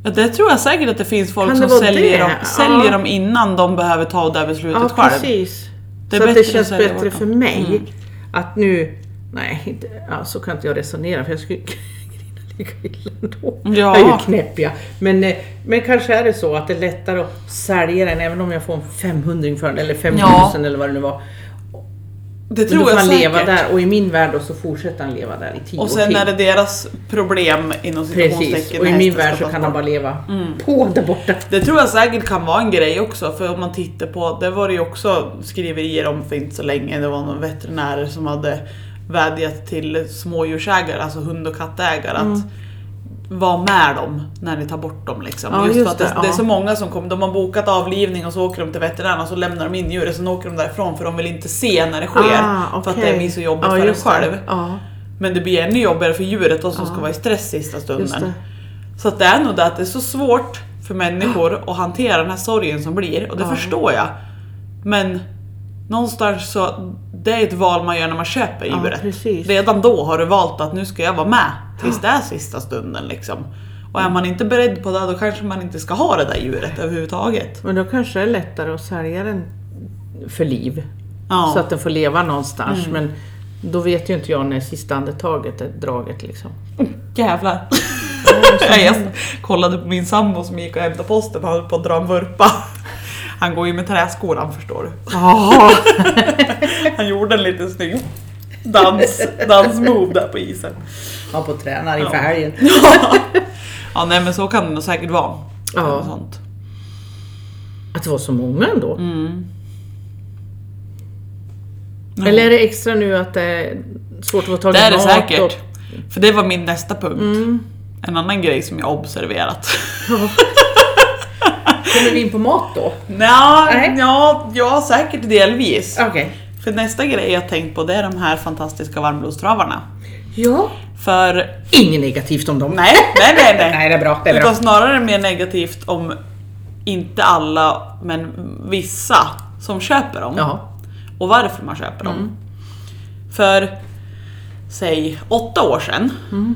Ja, Det tror jag säkert att det finns folk
Kan
som
det vara
säljer,
det?
dem,
Ja.
säljer dem innan de behöver ta det här beslutet
Ja,
själv.
precis.
Det är
så att
bättre
det
att
känns
sälja bort
bättre
dem.
för mig
Mm.
att nu... Nej, inte, ja, så kan inte jag resonera för jag skulle grina lika illa ändå.
Ja.
Jag är ju knäpp jag. Men, eh, men kanske är det så att det är lättare att sälja den även om jag får en 500 för den eller 5000 eller vad det nu var.
Det
Men då
tror
får
jag
han
säkert.
leva där och i min värld då så fortsätter han leva där i tio
Och sen
år
är det deras problem inom
Precis,
situationstecken.
och i
när
min
hästen
värld
ska
så
tas
kan han
bort. Mm.
bara leva på där borta.
Det tror jag säkert kan vara en grej också för om man tittar på, det var det ju också skriverier om för inte så länge, det var någon veterinärer som hade vädjat till smådjursägare, alltså hund och kattägare
Mm.
att vara med dem när ni tar bort dem. Liksom.
Ja,
just
just
för att det,
det, ja.
det är så många som kommer, de har bokat avlivning och så åker de till veterinären och så lämnar de in djuret, sen åker de därifrån för de vill inte se när det sker. För att det
Ah, okej.
blir så jobbigt
Ja,
för en
just det.
själv.
Ja,
Men det blir ännu jobbigare för djuret då, som ska vara i stress sista
just
stunden.
det.
Så att det är nog det att det är så svårt för människor att hantera den här sorgen som blir och det
Ja.
förstår jag. Men någonstans så, det är ett val man gör när man köper
Ja,
djuret.
precis.
Redan då har du valt att nu ska jag vara med tills det är sista stunden liksom. Och är man inte beredd på det då kanske man inte ska ha det där djuret överhuvudtaget.
Men då kanske det är lättare att sälja den för liv.
Ja.
Så att den får leva någonstans. Men då vet ju inte jag när sista andetaget är draget liksom.
Jävlar. jag kollade på min sambo som gick och hämtade posten, han höll på att dra en vurpa. Han går ju med träskor han förstår du.
Jaha!
Han gjorde en liten snygg dans, dansmove där på isen.
Man får träna inför helgen.
Ja nej men så kan det nog säkert vara.
Ja.
Eller Sånt.
Att det var så många ändå. Eller är det extra nu att det är svårt att få tag i
Det är det
mat
säkert.
och- Mm.
För det var min nästa punkt. En annan grej som jag observerat.
Kommer vi in på mat då?
Nja,
Nej.
ja, ja säkert delvis.
Okej.
För nästa grej jag tänkt på det är de här fantastiska varmblodstravarna.
Ja.
För
Inget negativt om dem.
nej, nej, nej, nej.
Nej, det är bra. Det är bra.
Utan snarare mer negativt om inte alla, men vissa som köper dem.
Jaha. Mm.
och varför man köper dem. För säg åtta år sedan.
Mm.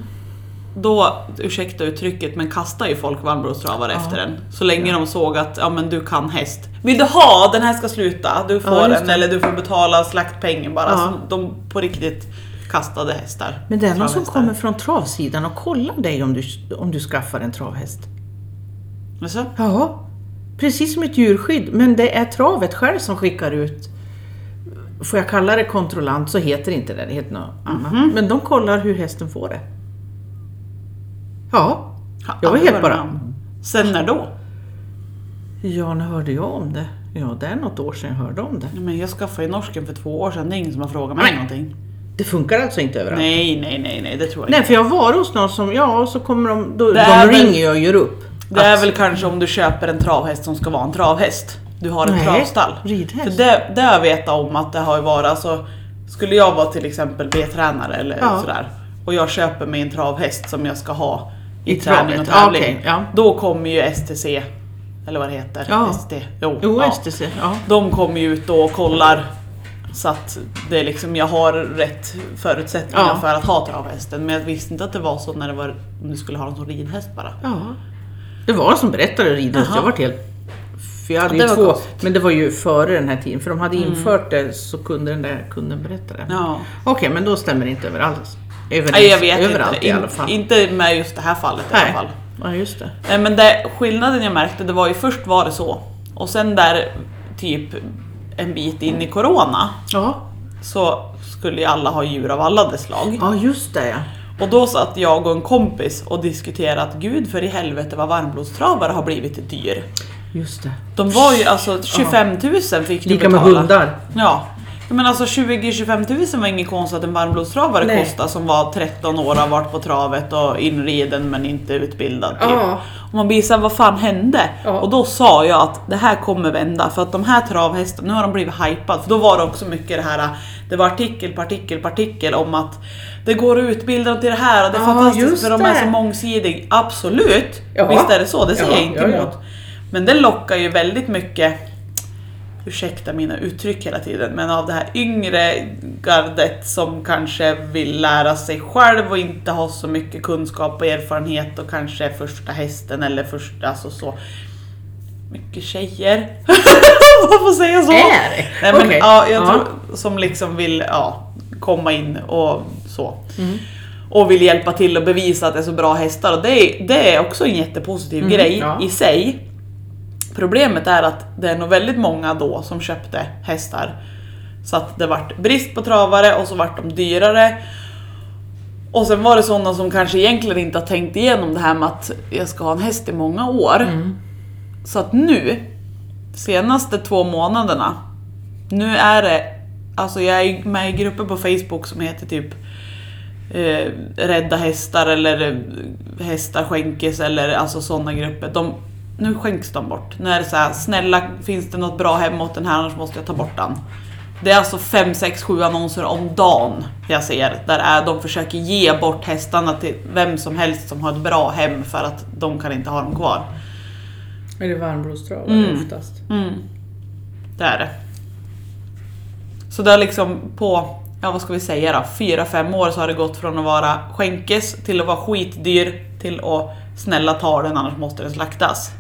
Då, ursäkta uttrycket, men kastar ju folk varmblodstravare
Ja.
efter en. Så länge de såg att ja, men du kan häst. Vill du ha? Den här ska sluta. Du får
Ja, just
den
det.
eller du får betala slaktpengen bara.
Ja.
Så de på riktigt kastade hästar.
Men det är någon som
Travhästar.
kommer från travsidan och kollar dig om du, om du skaffar en travhäst.
Jaså?
Ja, precis som ett djurskydd, men det är travet själv som skickar ut Får jag kalla det kontrollant så heter det inte det, det heter något
Mhm.
annat. Men de kollar hur hästen får det. Ja,
Har
jag var
aldrig
helt
varit med
bara...
om. Sen när då?
Ja, när hörde jag om det? Ja, det är något år sedan jag hörde om det.
Ja, Men jag skaffade ju norsken för två år sedan, det är ingen som har frågat mig
Nej.
någonting.
Det funkar alltså inte överallt? Nej,
Nej, nej, nej, nej, det tror jag inte.
för jag var hos någon som, ja, så kommer de, då, de
är väl-
ringer jag och gör upp.
Det är väl kanske om du köper en travhäst som ska vara en travhäst. Du har en
Nej,
travstall.
ridhäst.
För det, det har jag vetat om att det har ju varit, alltså, skulle jag vara till exempel B-tränare eller
Ja.
sådär och jag köper mig en travhäst som jag ska ha i,
I
träning och
travet,
tävling.
okej, ja.
Då kommer ju STC, eller vad det heter,
Ja.
ST. Jo,
Jo,
ja.
STC, ja.
De kommer ju ut då och kollar så att det är liksom, jag har rätt förutsättningar
Ja.
för att ha travhästen. Men jag visste inte att det var så när det var, om du skulle ha den som ridhäst bara.
Ja. Det var en som berättade om ridhäst,
Jaha.
jag vart helt... För jag hade
Ja,
ju
det var
två,
konstigt.
men det var ju före den här tiden, för de hade infört det så kunde den där kunden berätta det.
Ja.
Okej, men då stämmer det inte överallt. Överens,
Nej, jag vet
överallt
inte.
i
In-
alla fall.
Inte med just det här fallet i
Nej.
alla fall.
Ja, just det.
Nej, Men det, skillnaden jag märkte det var ju först var det så och sen där typ en bit in i corona
Ja.
så skulle ju alla ha djur av alla dess slag.
ja, just det ja.
Och då satt jag och en kompis och diskuterade att gud för i helvete vad varmblodstravare har blivit dyr.
Just det.
De var ju alltså 25 000 fick du
Lika med
betala.
hundar.
Ja. Men alltså 20-25 000 var inget konstigt att en varmblodstravare
Nej.
kostade som var 13 år och har varit på travet och inriden men inte utbildad. Typ.
Ja.
Och man blir såhär, vad fan hände?
Ja.
Och då sa jag att det här kommer vända för att de här travhästarna, nu har de blivit hypade. För då var det också mycket det här, det var artikel på artikel på artikel om att det går att utbilda dem till det här och det är
Ja,
fantastiskt
just
för de är
det.
så mångsidiga. Absolut!
Ja.
Visst är det så, det säger
Ja,
jag inte
ja, ja.
emot. Men det lockar ju väldigt mycket, ursäkta mina uttryck hela tiden, men av det här yngre gardet som kanske vill lära sig själv och inte har så mycket kunskap och erfarenhet och kanske är första hästen eller första, alltså så. Mycket tjejer. Man får säga så.
Är det?
Nej, men,
Okej.
ja, jag
Ja.
Tror, som liksom vill ja, komma in och så. Och vill hjälpa till och bevisa att det är så bra hästar. Och det, är, det är också en jättepositiv
Mm,
grej
ja.
i sig. Problemet är att det är nog väldigt många då som köpte hästar. Så att det vart brist på travare och så vart de dyrare. Och sen var det sådana som kanske egentligen inte har tänkt igenom det här med att jag ska ha en häst i många år. Så att nu, senaste två månaderna, nu är det, alltså jag är med i grupper på Facebook som heter typ eh, Rädda hästar eller eh, hästar skänkes eller alltså sådana grupper. De, nu skänks de bort. Nu är det så här, snälla finns det något bra hem åt den här annars måste jag ta bort den. Det är alltså 5, 6, 7 annonser om dagen jag ser där är, de försöker ge bort hästarna till vem som helst som har ett bra hem för att de kan inte ha dem kvar.
Är det varmblodstravare oftast?
Mm. Det är det. Så det har liksom på, ja vad ska vi säga då, fyra fem år så har det gått från att vara skänkes till att vara skitdyr till att snälla ta den annars måste den slaktas.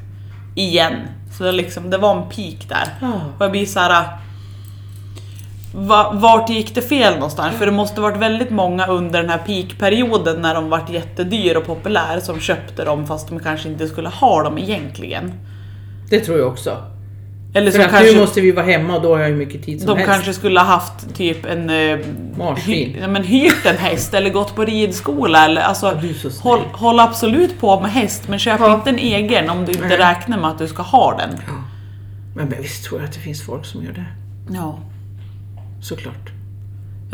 Igen. Så det, har liksom, det var en peak där.
Ja.
Och jag blir såhär... Va, vart gick det fel någonstans? För det måste varit väldigt många under den här peakperioden när de vart jättedyr och populär som köpte dem fast de kanske inte skulle ha dem egentligen.
Det tror jag också.
Eller
För
som
att nu måste vi vara hemma och då har jag ju mycket tid som
De
helst.
kanske skulle ha haft typ en... eh,
Marsvin.
hy- ja, men hyrt en häst eller gått på ridskola eller alltså...
Du är så snäll.
Håll, håll absolut på med häst men köp
Ja.
inte en egen om du inte
Nej.
räknar med att du ska ha den.
Ja. Men, men visst tror jag att det finns folk som gör det.
Ja.
Såklart.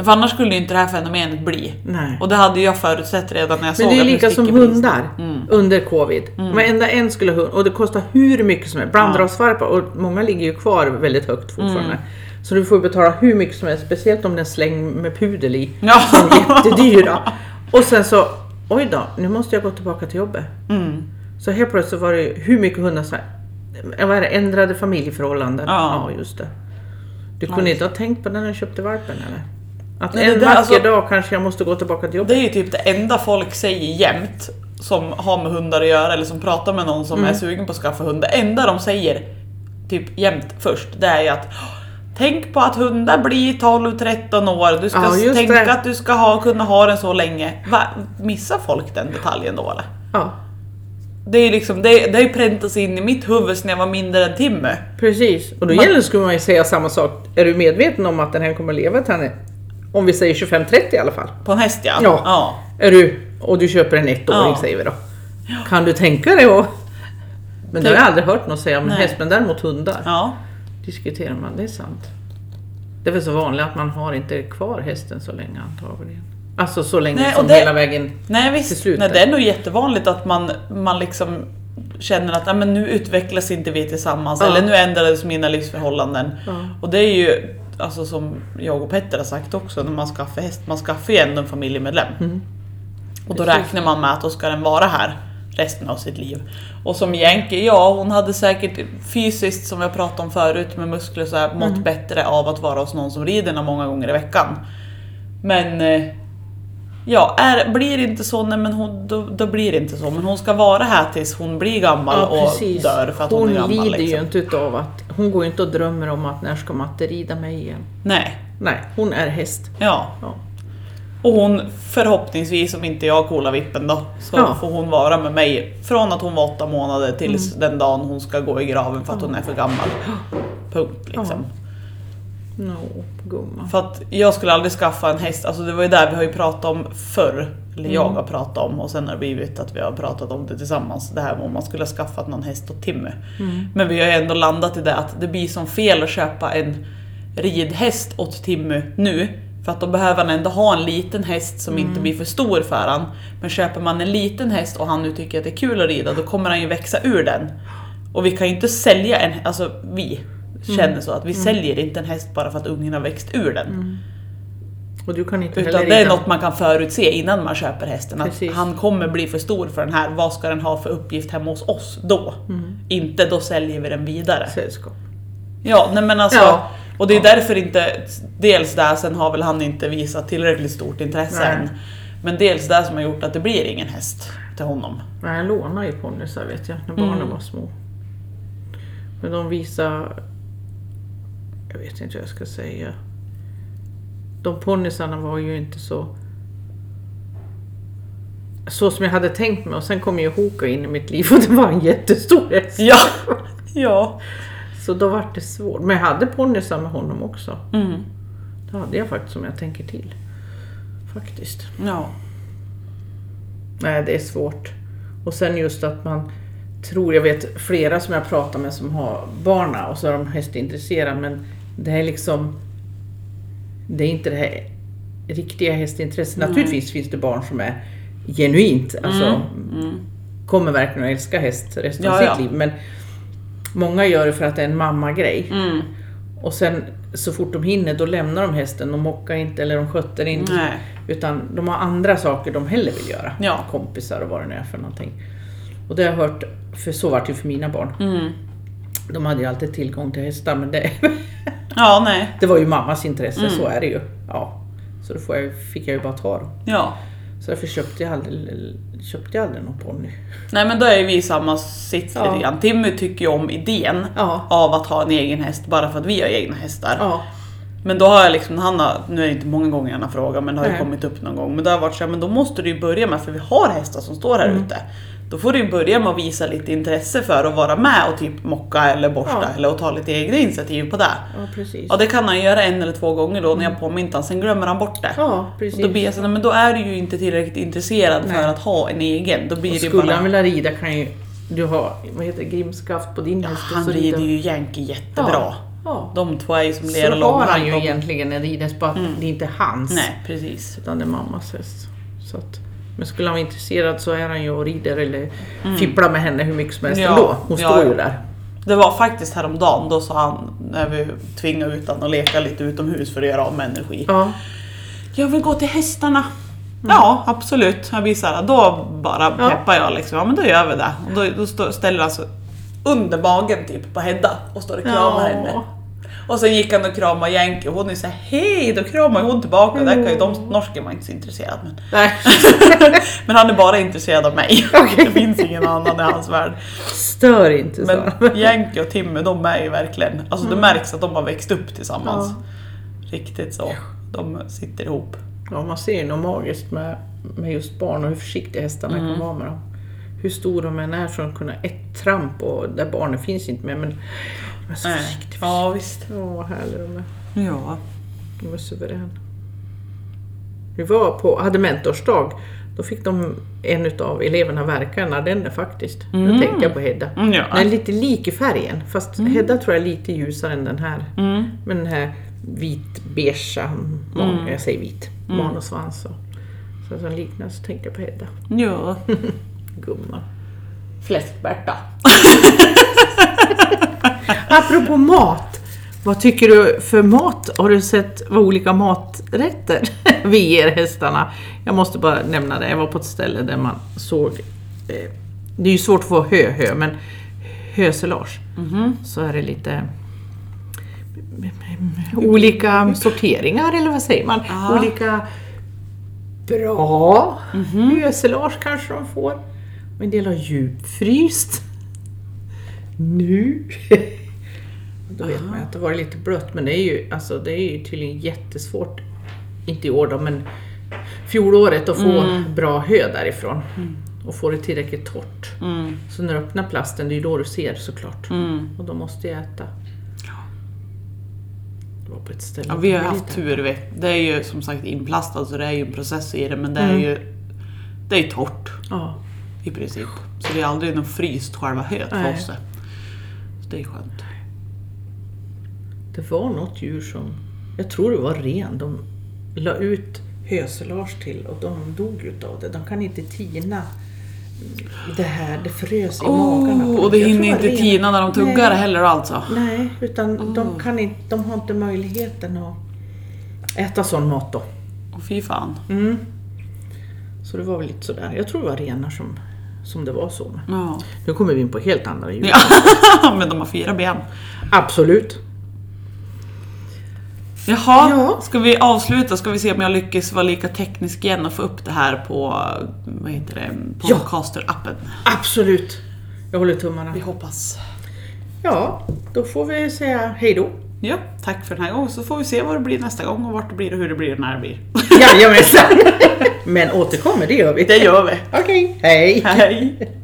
För annars skulle ju inte det här fenomenet bli.
Nej.
Och det hade jag förutsett redan när jag såg
Men det är
att
ju
nu
lika som
sticker priset.
hundar
Mm.
under covid. Varenda en skulle hund, och det kostar hur mycket som helst. Blandrasvalpar, och många ligger ju kvar väldigt högt fortfarande. Så du får ju betala hur mycket som helst, speciellt om det är en släng med pudel i.
Ja.
Som är jättedyra. Och sen så, oj då, nu måste jag gå tillbaka till jobbet.
Mm.
Så helt plötsligt var det ju hur mycket hundar som eh, vad är det, ändrade familjeförhållanden.
Ja.
just det. Du kunde inte ha tänkt på det när du köpte valpen eller? Att
Nej, det
en
där,
vacker
alltså-
dag kanske jag måste gå tillbaka till
Det
jobbet.
är ju typ det enda folk säger jämt som har med hundar att göra eller som pratar med någon som
Mm.
är sugen på att skaffa hund. Det enda de säger typ jämt först, det är ju att Tänk på att hundar blir 12-13 år, du ska
Ja, just
tänka
det.
att du ska ha, kunna ha den så länge. Va? Missar folk den detaljen då eller?
Ja,
Det är ju liksom, det, det har ju präntats in i mitt huvud sedan jag var mindre än en timme.
precis. Och då
Man-
gäller det, skulle man ju säga samma sak. Är du medveten om att den här kommer att leva till henne? Om vi säger 25-30 i alla fall.
På en häst ja.
Ja.
ja.
Är du, och du köper en ettåring
Ja.
säger vi då. Kan du tänka dig att... Men det har jag aldrig hört någon säga om en
Nej.
häst, men däremot hundar.
ja.
Diskuterar man, det är sant. Det är väl så vanligt att man har inte kvar hästen så länge antagligen. Alltså så länge
Nej, och
som
det-
hela vägen.
Nej
till
visst,
slut
Nej,
där.
det är nog jättevanligt att man, man liksom känner att "Nej, men nu utvecklas inte vi tillsammans
Ja.
eller nu ändrades mina livsförhållanden.
Ja.
Och det är ju alltså, som jag och Petter har sagt också, när man skaffar häst, man skaffar ju ändå en familjemedlem.
Mm.
Och då
Precis.
räknar man med att då ska den vara här resten av sitt liv. Och som Jänke, ja hon hade säkert fysiskt, som jag pratade om förut, med muskler så här, mått
Mm.
bättre av att vara hos någon som rider henne många gånger i veckan. Men eh, ja, är, blir det inte så, nej, men hon, då, då blir det inte så. Men hon ska vara här tills hon blir gammal och dör för att hon,
hon
är gammal.
lider ju
Liksom.
inte utav att, hon går ju inte och drömmer om att när ska matte rida mig igen.
Nej,
Nej, hon är häst.
ja.
Ja.
Och hon förhoppningsvis, om inte jag kolar vippen då, så
Ja.
får hon vara med mig från att hon var åtta månader tills den dagen hon ska gå i graven för att hon är för gammal. Punkt liksom.
No, gumman.
För att jag skulle aldrig skaffa en häst, alltså det var ju där vi har ju pratat om förr. Eller jag har pratat om och sen har det blivit att vi har pratat om det tillsammans. Det här med om man skulle ha skaffat någon häst åt Timmy. Men vi har ju ändå landat i det att det blir som fel att köpa en ridhäst åt Timmy nu. För att då behöver han ändå ha en liten häst som inte blir för stor för han. Men köper man en liten häst och han nu tycker att det är kul att rida, då kommer han ju växa ur den. Och vi kan ju inte sälja en, alltså vi
Mm.
känner så att vi säljer inte en häst bara för att ungen har växt ur den.
Och du kan inte Mm. heller
Utan det är
rida.
något man kan förutse innan man köper hästen. Att
Precis.
han kommer bli för stor för den här, vad ska den ha för uppgift hemma hos oss då?
Mm.
Inte då säljer vi den vidare.
sällskap.
Ja, nej men alltså.
Ja.
Och det är därför inte, dels där, sen har väl han inte visat tillräckligt stort intresse
Nej.
än. Men dels det som har gjort att det blir ingen häst till honom.
Nej, jag lånade ju ponnysar vet jag, när barnen var små. Men de visar... Jag vet inte vad jag ska säga. De ponnysarna var ju inte så... Så som jag hade tänkt mig och sen kom ju Hoka in i mitt liv och det var en jättestor häst.
Ja, ja.
Så då var det svårt. Men jag hade ponnysar med honom också.
Mm.
Det hade jag faktiskt om jag tänker till. Faktiskt.
ja.
Nej, det är svårt. Och sen just att man tror, jag vet flera som jag pratar med som har barna och så är de hästintresserade men det är liksom det är inte det här riktiga hästintresset. Naturligtvis finns det barn som är genuint,
Mm,
alltså kommer verkligen att älska häst resten av
Ja,
sitt
ja.
liv. Men många gör det för att det är en mammagrej.
Mm.
Och sen så fort de hinner då lämnar de hästen, de mockar inte eller de skötter inte.
Nej.
Utan de har andra saker de hellre vill göra.
Ja.
Kompisar och vad det nu är för någonting. Och det har jag hört, för så var det ju för mina barn.
Mm.
De hade ju alltid tillgång till hästar men det,
Ja, nej.
det var ju mammas intresse, så
Mm.
är det ju. Ja. Så då får jag, fick jag ju bara ta dem.
Ja.
Så därför köpte jag aldrig, köpte jag aldrig någon ponny.
Nej men då är vi i samma sits
Ja.
lite grann. Timmy tycker ju om idén
Ja.
av att ha en egen häst bara för att vi har egna hästar.
Ja.
Men då har jag liksom, när han har, nu är det inte många gånger han har frågat men det har ju
Nej.
kommit upp någon gång. Men då har jag varit såhär, men då måste du ju börja med, för vi har hästar som står här
Mm.
ute. Då får du ju börja med att visa lite intresse för att vara med och typ mocka eller borsta
Ja.
eller och ta lite egna initiativ på det.
Ja precis.
Ja det kan han göra en eller två gånger då när jag påminner honom, sen glömmer han bort det.
Mm. Ja,
Och
precis.
då blir jag såhär, men då är du ju inte tillräckligt intresserad för
Nej.
att ha en egen. Då blir
Och
det ju
skulle
bara...
han vilja rida kan ju du ha, vad heter det, grimskaft på din häst. och
Han
så
rider
rida.
ju Yankee jättebra.
Ja.
De två är ju som
Så
lera
då har
långhand.
han ju
De-
egentligen en ridhäst, bara att det är inte hans.
Mm. Nej, precis.
utan det är mammas häst. Så att, men skulle han vara intresserad så är han ju och rider eller fipplar med henne hur mycket som helst
Mm. Ja,
ändå. Hon
ja,
står ju
ja.
där.
Det var faktiskt häromdagen, då sa han, när vi tvingade ut honom att leka lite utomhus för att göra av med energi.
Ja,
Jag vill gå till hästarna. Ja, absolut. Jag blir så här, då bara
Mm. Ja.
peppar jag liksom. Ja men då gör vi det. Och då, då stå, ställer han sig under magen typ på Hedda och står och
Ja.
kramar henne. Och sen gick han och kramade Jänke och hon är såhär hej, då kramar hon tillbaka. Där kan ju de, norsken var inte så intresserad men.
Nej.
men han är bara intresserad av mig.
Okej.
Det finns ingen annan i hans värld.
Stör inte så.
Men Jänke och Timmy de är ju verkligen, alltså
Mm.
det märks att de har växt upp tillsammans. Riktigt så. De sitter ihop.
Ja, man ser ju något magiskt med, med just barn och hur försiktiga hästarna
Mm.
kan vara med dem. Hur stor de än är så de kunna ett tramp och där barnen finns inte med. Men de är så
Nej.
försiktiga.
Ja visst.
Åh, vad härliga de är.
Ja.
De är suveräna. Vi var på, hade mentorsdag. Då fick de en av eleverna verka en ardenne faktiskt. Nu tänker jag på Hedda.
Mm, ja.
Den är lite lik i färgen. Fast Hedda tror jag är lite ljusare än den här.
Mm.
Men den här vitbeigea, man, jag säger vit,
Mm.
man och svans och så att den liknar så tänkte jag på Hedda.
Ja.
Gumman. Fläskberta. Apropå mat. Vad tycker du för mat? Har du sett vad olika maträtter vi ger hästarna? Jag måste bara nämna det. Jag var på ett ställe där man såg... eh, Det är ju svårt att få hö-hö, men höselage. Så är det lite... Olika sorteringar, eller vad säger man?
Ja.
Olika bra Mm-hmm. höselage kanske de får. Och en del har djupfryst. Nu! Då vet man ju att det var lite blött, men det är ju, alltså, det är ju tydligen jättesvårt, inte i år då, men fjolåret att få
Mm.
bra hö därifrån. Och få det tillräckligt torrt.
Mm.
Så när du öppnar plasten, det är ju då du ser såklart.
Mm.
Och då måste jag äta. Det var på ett ställe.
Ja, vi har
Det var
haft
lite-
tur. vet. Det är ju som sagt inplastat så det är ju en process i det men det är
Mm.
ju det är torrt
Ja.
i princip. Så det är aldrig någon fryst själva höet för
Nej.
oss. Så det är skönt.
Det var något djur som, jag tror det var ren, de la ut höselage till och de dog utav det. De kan inte tina det här, det frös i magarna. på
Oh,
dem.
och det
Jag tror
hinner
var
inte
ren.
tina när de tuggar
Nej.
heller alltså.
Nej, utan
Oh.
de, kan inte, de har inte möjligheten att äta sån mat då.
Och fy fan.
Mm. Så det var väl lite sådär. Jag tror det var renar som, som det var så med.
Ja.
Nu kommer vi in på helt andra djur.
ja. men de har fyra ben.
Absolut.
Jaha,
Ja.
ska vi avsluta? Ska vi se om jag lyckas vara lika teknisk igen och få upp det här på vad heter det,
Ja.
podcaster-appen?
Absolut. Jag håller tummarna.
Vi hoppas.
Ja, då får vi säga hejdå.
Ja, tack för den här gången så får vi se vad det blir nästa gång och vart det blir och hur det blir och när det blir.
Jajamensan! Men återkommer, det gör vi.
Det gör vi.
Okej, hej!
Hej!